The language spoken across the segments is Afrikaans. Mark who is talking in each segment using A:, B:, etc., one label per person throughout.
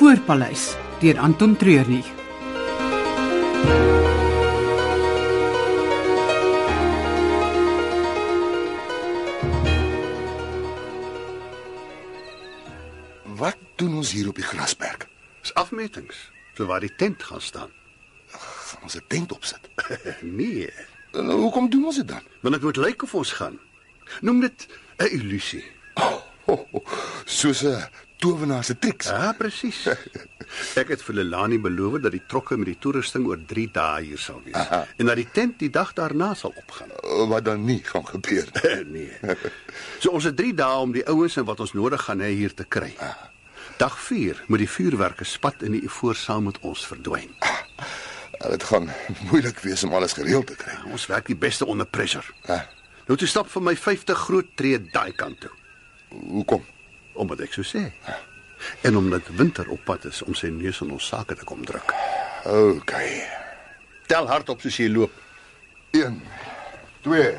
A: Voorpaleis deur Anton Treurnig.
B: Wat doen ons hier op die grasberg?
C: Dis afmetings vir waar die tent gaan staan.
B: Gaan ons 'n tent opsit?
C: nee,
B: En eh, hoekom doen ons dit dan?
C: want dit moet lyk of ons gaan. Noem dit 'n illusie.
B: Oh, oh, soos 'n towenaar se triks.
C: Ja, presies. Ek het vir Lelani beloof dat die trokke met die toerusting oor 3 dae hier sal wees
B: Aha.
C: en dat die tent die dag daarna sal opgaan.
B: Eh, Wat dan nie gaan gebeur nie.
C: nee. So ons het 3 dae om die ouens en wat ons nodig gaan hê hier te kry. Dag 4 moet die vuurwerke spat in die ivoor saam met ons verdwyn.
B: Eh, Dit gaan moeilik wees om alles gereeld te kry.
C: Ons werk die beste onder pressure.
B: Ah,
C: Nou toe stap vir my 50 groot tree daai kant toe.
B: hoekom?
C: Omdat ek so sê. En omdat winter op pad is om sy neus in ons sake te kom druk.
B: OK.
C: Tel hardop soos jy loop.
B: 1 2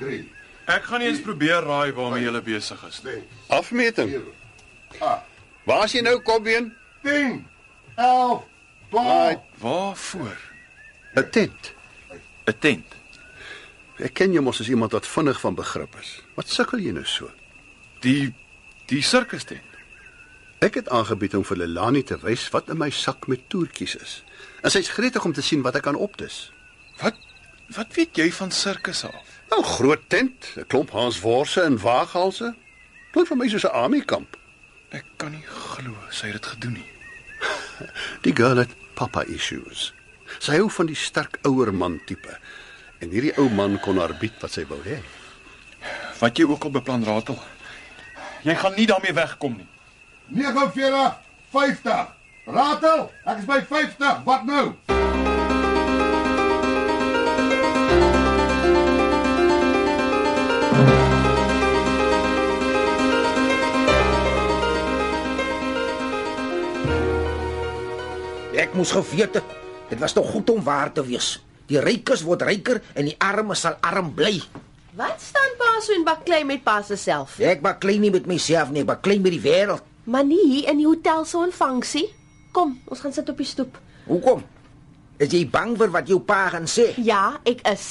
B: 3
D: Ek gaan nie eens probeer raai waarmee jy besig is nie.
C: Afmeting.
B: Ah.
C: Waar is jy nou kopbeen?
B: 10 11 12
D: Waarvoor?
C: 'n Tent.
D: 'n Tent.
C: Ek ken jou mos as iemand wat vinnig van begrip is. Wat sukkel jy nou so?
D: Die die sirkus tent.
C: Ek het aangebied om vir Lelani te wys wat in my sak met toertjies is. En sy's gretig om te sien wat ek kan opdis.
D: Wat wat weet jy van sirkus af?
C: Nou groot tent, 'n klomp hansworse en waaghalse. Klink vir my soos 'n army kamp.
D: Ek kan nie glo sy het dit gedoen nie.
C: Die girl het papa issues. Sy hou van die sterk ouer man tipe. En hierdie ou man kon haar bied wat sy wou hê.
D: Wat jy ook al beplan ratel. Jy gaan nie daarmee wegkom nie.
B: 49 50 Ratel, ek is by 50. Wat nou?
E: Ek moes geweet het. Dit was nog goed om waar te wees. Die rykes word ryker en die armes sal arm bly.
F: Wat staan pa so en baklei met pa se self?
E: Ek baklei nie met myself nie, ek baklei met die wêreld.
F: Maar nie hier in die hotel se ontvangsie. Kom, ons gaan sit op die stoep.
E: Hoekom? Is jy bang vir wat jou pa gaan sê?
F: Ja, ek is.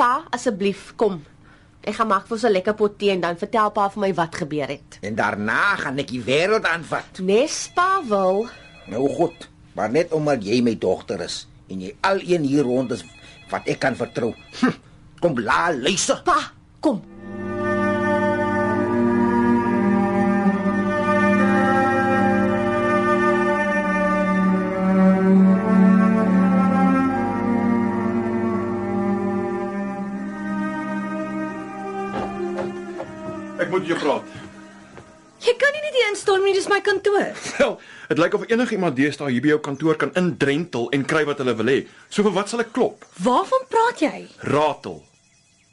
F: Pa, asseblief, kom. Ek gaan maak vir ons 'n lekker pot tee en dan vertel pa vir my wat gebeur het.
E: En daarna gaan ek die wêreld aanvat.
F: Nes pa wil.
E: Nou goed, maar net omdat jy my dogter is en jy alleen hier rond is wat ek kan vertrou. Hm, kom la luister.
F: Pa, kom.
D: Ek moet jou praat.
G: Jy kan nie net hier instorm nie, dis my kantoor.
D: Wel, dit lyk of enigiemand deesdae hier by jou kantoor kan indrentel en kry wat hulle wil hê. So vir wat sal ek klop?
G: Waarvan praat jy?
D: Ratel.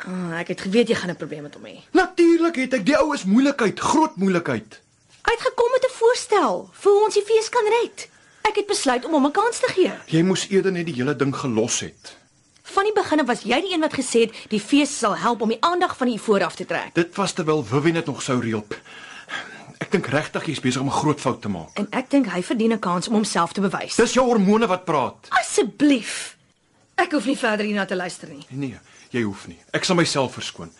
G: Ah, ek het geweet jy gaan 'n probleem met hom hê.
D: Natuurlik het ek die ou is moeilikheid, groot moeilikheid.
G: Hy het gekom met 'n voorstel vir hoe ons die fees kan red. Ek het besluit om hom 'n kans te gee.
D: Jy moes eerder net die hele ding gelos het.
G: Van die begin af was jy die een wat gesê het die fees sal help om die aandag van die voor af te trek.
D: Dit was terwyl Wivien dit nog sou reël. Ek dink regtig jy's besig om 'n groot fout te maak.
G: En ek dink hy verdien 'n kans om homself te bewys.
D: Dis jou hormone wat praat.
G: Asseblief. Ek hoef nie verder hierna te luister nie.
D: Nee, jy hoef nie. Ek sal myself verskoon.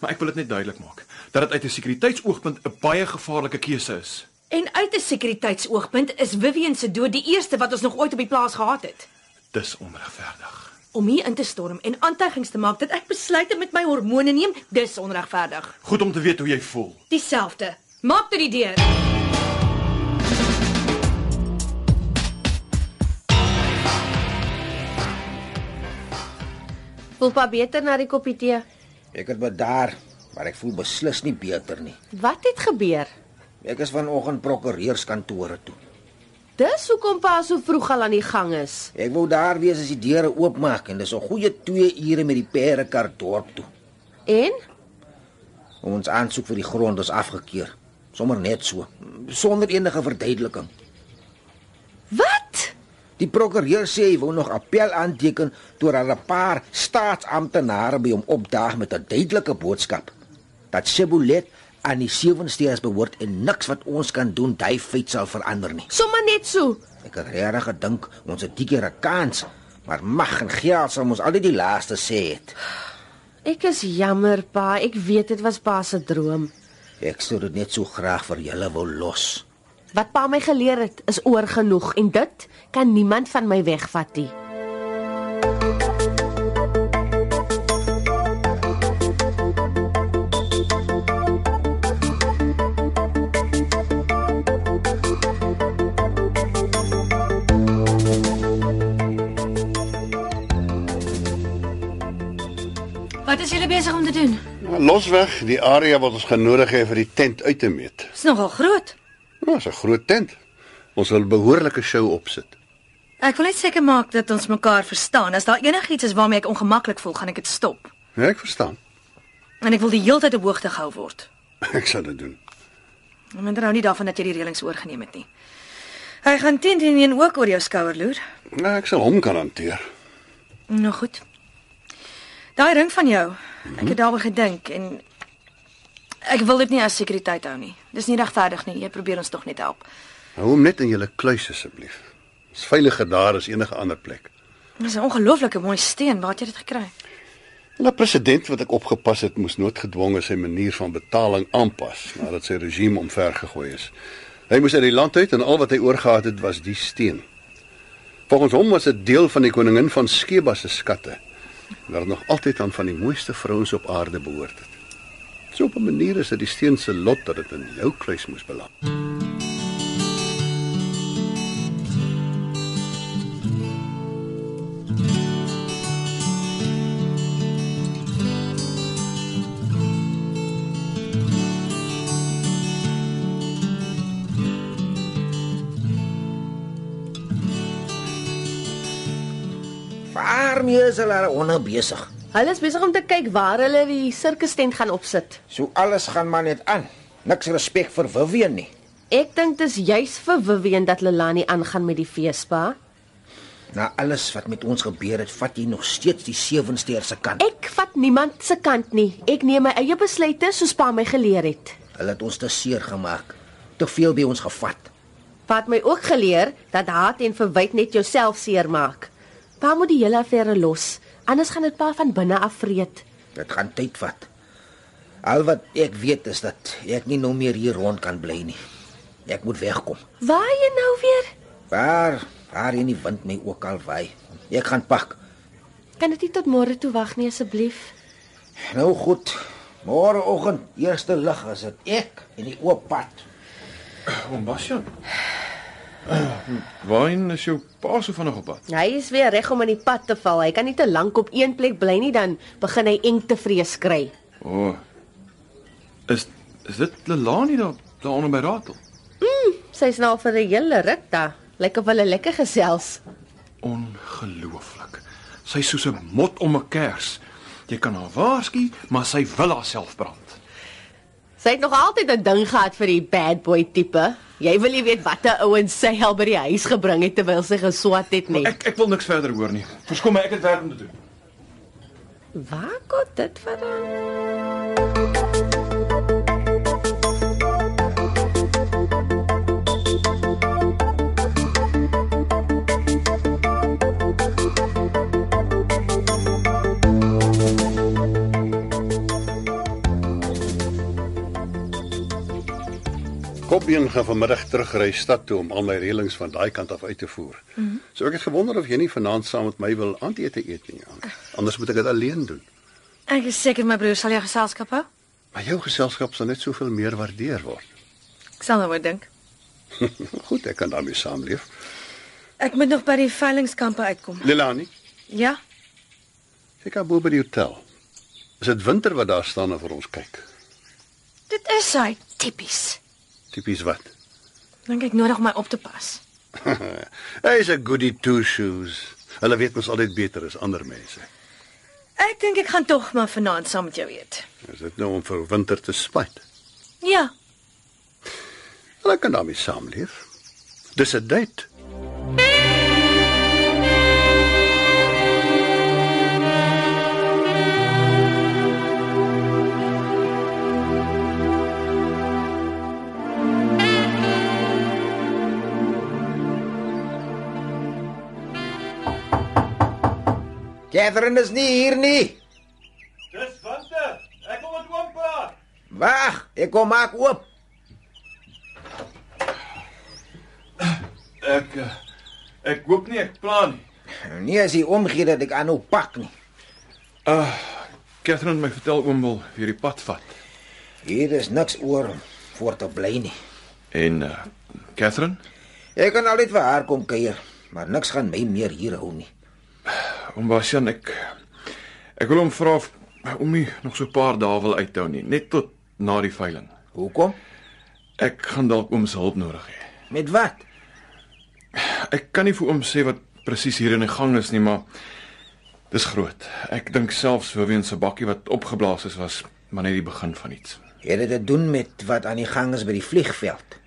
D: Maar ek wil dit net duidelik maak dat dit uit 'n sekuriteitsoogpunt 'n baie gevaarlike keuse is.
G: En uit 'n sekuriteitsoogpunt is Vivian se dood die eerste wat ons nog ooit op die plaas gehad het.
D: Dis onregverdig.
G: Om hier in te storm en aantuigings te maak dat ek besluite met my hormone neem, dis onregverdig.
D: Goed om te weet hoe jy voel.
G: Dieselfde. Maak toe die deur.
F: Voel pa beter na die koppie tee?
E: Ek het bedaar, maar ek voel beslis nie beter nie.
F: Wat het gebeur?
E: Ek is vanoggend prokureurskantore toe.
F: Dis hoekom pa so vroeg al aan die gang is.
E: Ek wou daar wees as die deure oopmaak en dis 'n goeie 2 ure met die perdekar dorp toe.
F: En
E: Om ons aansoek vir die grond is afgekeur. Sommer net so, sonder enige verduideliking.
F: wat?
E: Die prokureur sê hy wou nog appel aanteken toe daar 'n paar staatsamptenare by hom opdaag met 'n duidelike boodskap dat Shebolet aan die sewe steers behoort en niks wat ons kan doen daai feit sal verander nie.
F: Sommer net so.
E: Ek het regtig gedink ons het die keer 'n kans, maar mag en geld sal ons altyd die laaste sê het.
F: Ek is jammer, pa. Ek weet dit was pa se droom.
E: Ek sou dit net so graag vir julle wou los.
F: Wat pa my geleer het, is oor genoeg en dit kan niemand van my wegvat nie.
G: Wat is julle besig om te doen?
C: Nou, Losweg die area wat ons gaan nodig hê vir die tent uit te meet.
G: Dis nogal groot.
C: Dit is 'n groot tent. Ons wil 'n behoorlike show opsit.
G: Ek wil net seker maak dat ons mekaar verstaan. As daar enigiets is waarmee ek ongemaklik voel, gaan ek dit stop.
C: Ja, ek verstaan.
G: En ek wil die heeltyd op hoogte gehou word.
C: Ek sal dit doen.
G: Ek minder hou nie daarvan dat jy die reëlings oorgeneem het nie. Hy gaan 10 teen 1 ook oor jou skouer loer.
C: Ja, ek sal hom kan hanteer.
G: Nou goed. Daai ring van jou. Ek het daaroor gedink en ek wil dit nie as sekuriteit hou nie. Dis nie regverdig nie. Jy probeer ons tog net help.
C: Hou hom net in julle kluis asseblief. Dis veiliger daar as enige ander plek.
G: Dis 'n ongelooflike mooi steen. Waar het jy dit gekry?
C: 'n President wat ek opgepas het, moes noodgedwonge sy manier van betaling aanpas nadat sy regime omvergegooi is. Hy moes uit die land uit en al wat hy oorgehad het was die steen. Volgens hom was dit deel van die koningin van Skeba se skatte wat nog altyd aan van die mooiste vrouens op aarde behoort het. So op 'n manier is dit die steen se lot dat dit in jou kluis moes beland.
E: Waarmee is hulle onder besig?
F: Hulle is besig om te kyk waar hulle die sirkus tent gaan opsit.
E: So alles gaan maar net aan. Niks respek vir Vivian nie.
F: Ek dink dis juis vir Vivian dat Lelani aangaan met die feespa.
E: Na alles wat met ons gebeur het, vat jy nog steeds die sewensteer se kant.
F: Ek vat niemand se kant nie. Ek neem my eie besluite soos pa my geleer het.
E: Hulle het ons te seer gemaak. Te veel by ons gevat.
F: Pa het my ook geleer dat haat en verwyd net jouself seermaak. Pa moet die hele affære los, anders gaan dit pa van binne af vreet.
E: Dit gaan tyd vat. Al wat ek weet is dat ek nie nou meer hier rond kan bly nie. Ek moet wegkom.
F: Waar jy nou weer?
E: Waar waar in die wind my ook al waai. Ek gaan pak.
F: Kan dit nie tot môre toe wag nie asseblief?
E: Nou goed. Môreoggend, eerste lig is dit ek en die oop pad.
D: Oom Bastian. Waarheen is jou pa so vinnig op pad?
F: Hy is weer reg om in die pad te val. Hy kan nie te lank op een plek bly nie dan begin hy engte vrees kry.
D: O. Oh, is is dit Lelani daar daaronder by Ratel?
F: Sy's nou al vir 'n hele ruk daar. Lyk of hulle lekker gesels.
D: Ongelooflik. Sy is soos 'n mot om 'n kers. Jy kan haar waarsku, maar sy wil haarself brand.
F: Sy het nog altyd 'n ding gehad vir die bad boy tipe. Jy wil nie weet watter ouens sy al by die huis gebring het terwyl sy geswat het nie.
D: Ek ek wil niks verder hoor nie. Verskoon my, ek het werk om te doen.
F: Waar kom dit vandaan?
C: Kopbeen gaan vanmiddag terugry stad toe om al my reëlings van daai kant af uit te voer. Mm -hmm. So ek het gewonder of jy nie vanaand saam met my wil aandete eet nie. An- Anders moet ek dit alleen doen.
G: Ek is seker my broer sal jou geselskap hou.
C: Maar jou geselskap sal net soveel meer waardeer word.
G: Ek sal nou oor dink.
C: Goed, ek kan daarmee saamleef.
G: Ek moet nog by die veilingskampe uitkom.
C: Lelani,
G: Ja,
C: kyk daar bo by die hotel. Is dit winter wat daar staan en vir ons kyk?
G: dit is hy, tipies.
C: Tipies wat.
G: Dink ek nodig om my op te pas.
C: Hy is 'n goody two shoes. Hulle weet mos altyd beter as ander mense.
G: Ek dink ek gaan tog maar vanaand saam met jou eet.
C: Is dit nou om vir winter te spyt?
G: Ja.
C: Hulle kan daarmee saamleef. Dis 'n date.
E: Catherine is nie hier nie.
H: Dis winter. Ek kom met oom praat.
E: Wag, ek kom maak oop.
D: Ek eh, ek hoop nie ek plan nie.
E: Nie as jy omgee dat ek aanhou pak nie.
D: Catherine het my vertel oom wil weer die pad vat.
E: Hier is niks oor om voor te bly nie.
D: En uh, Catherine,
E: Ek kan altyd vir haar kom kuier, maar niks gaan my meer hier hou nie.
D: oom Bastian, ek ek wil hom vra of om nie nog so 'n paar dae wil uithou nie, net tot na die veiling.
E: Hoekom?
D: Ek gaan dalk oom se hulp nodig hê.
E: Met wat?
D: Ek kan nie vir oom sê wat presies hier in die gang is nie, maar dis groot. Ek dink selfs Vivian se bakkie wat opgeblaas is was maar net die begin van iets.
E: Het dit te doen met wat aan die gang is by die vliegveld.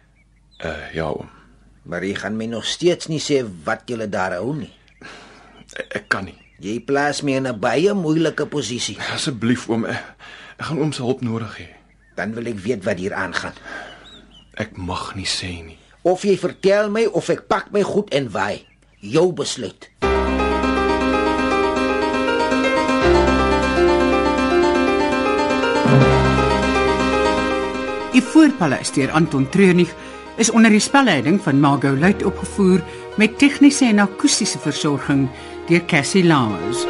D: Uh ja oom.
E: Maar jy gaan my nog steeds nie sê wat jy daar hou nie.
D: Ek, E-, ek kan nie.
E: Jy plaas my in 'n baie moeilike posisie.
D: Asseblief oom, ek, ek gaan oom se hulp nodig hê.
E: Dan wil ek weet wat hier aangaan.
D: Ek mag nie sê nie.
E: Of jy vertel my of ek pak my goed en waai. Jou besluit.
A: Die Voorpaleis deur Anton Treurnig is onder die spelleiding van Margot Luit opgevoer met tegniese en akoestiese versorging deur Cassie Lawrence.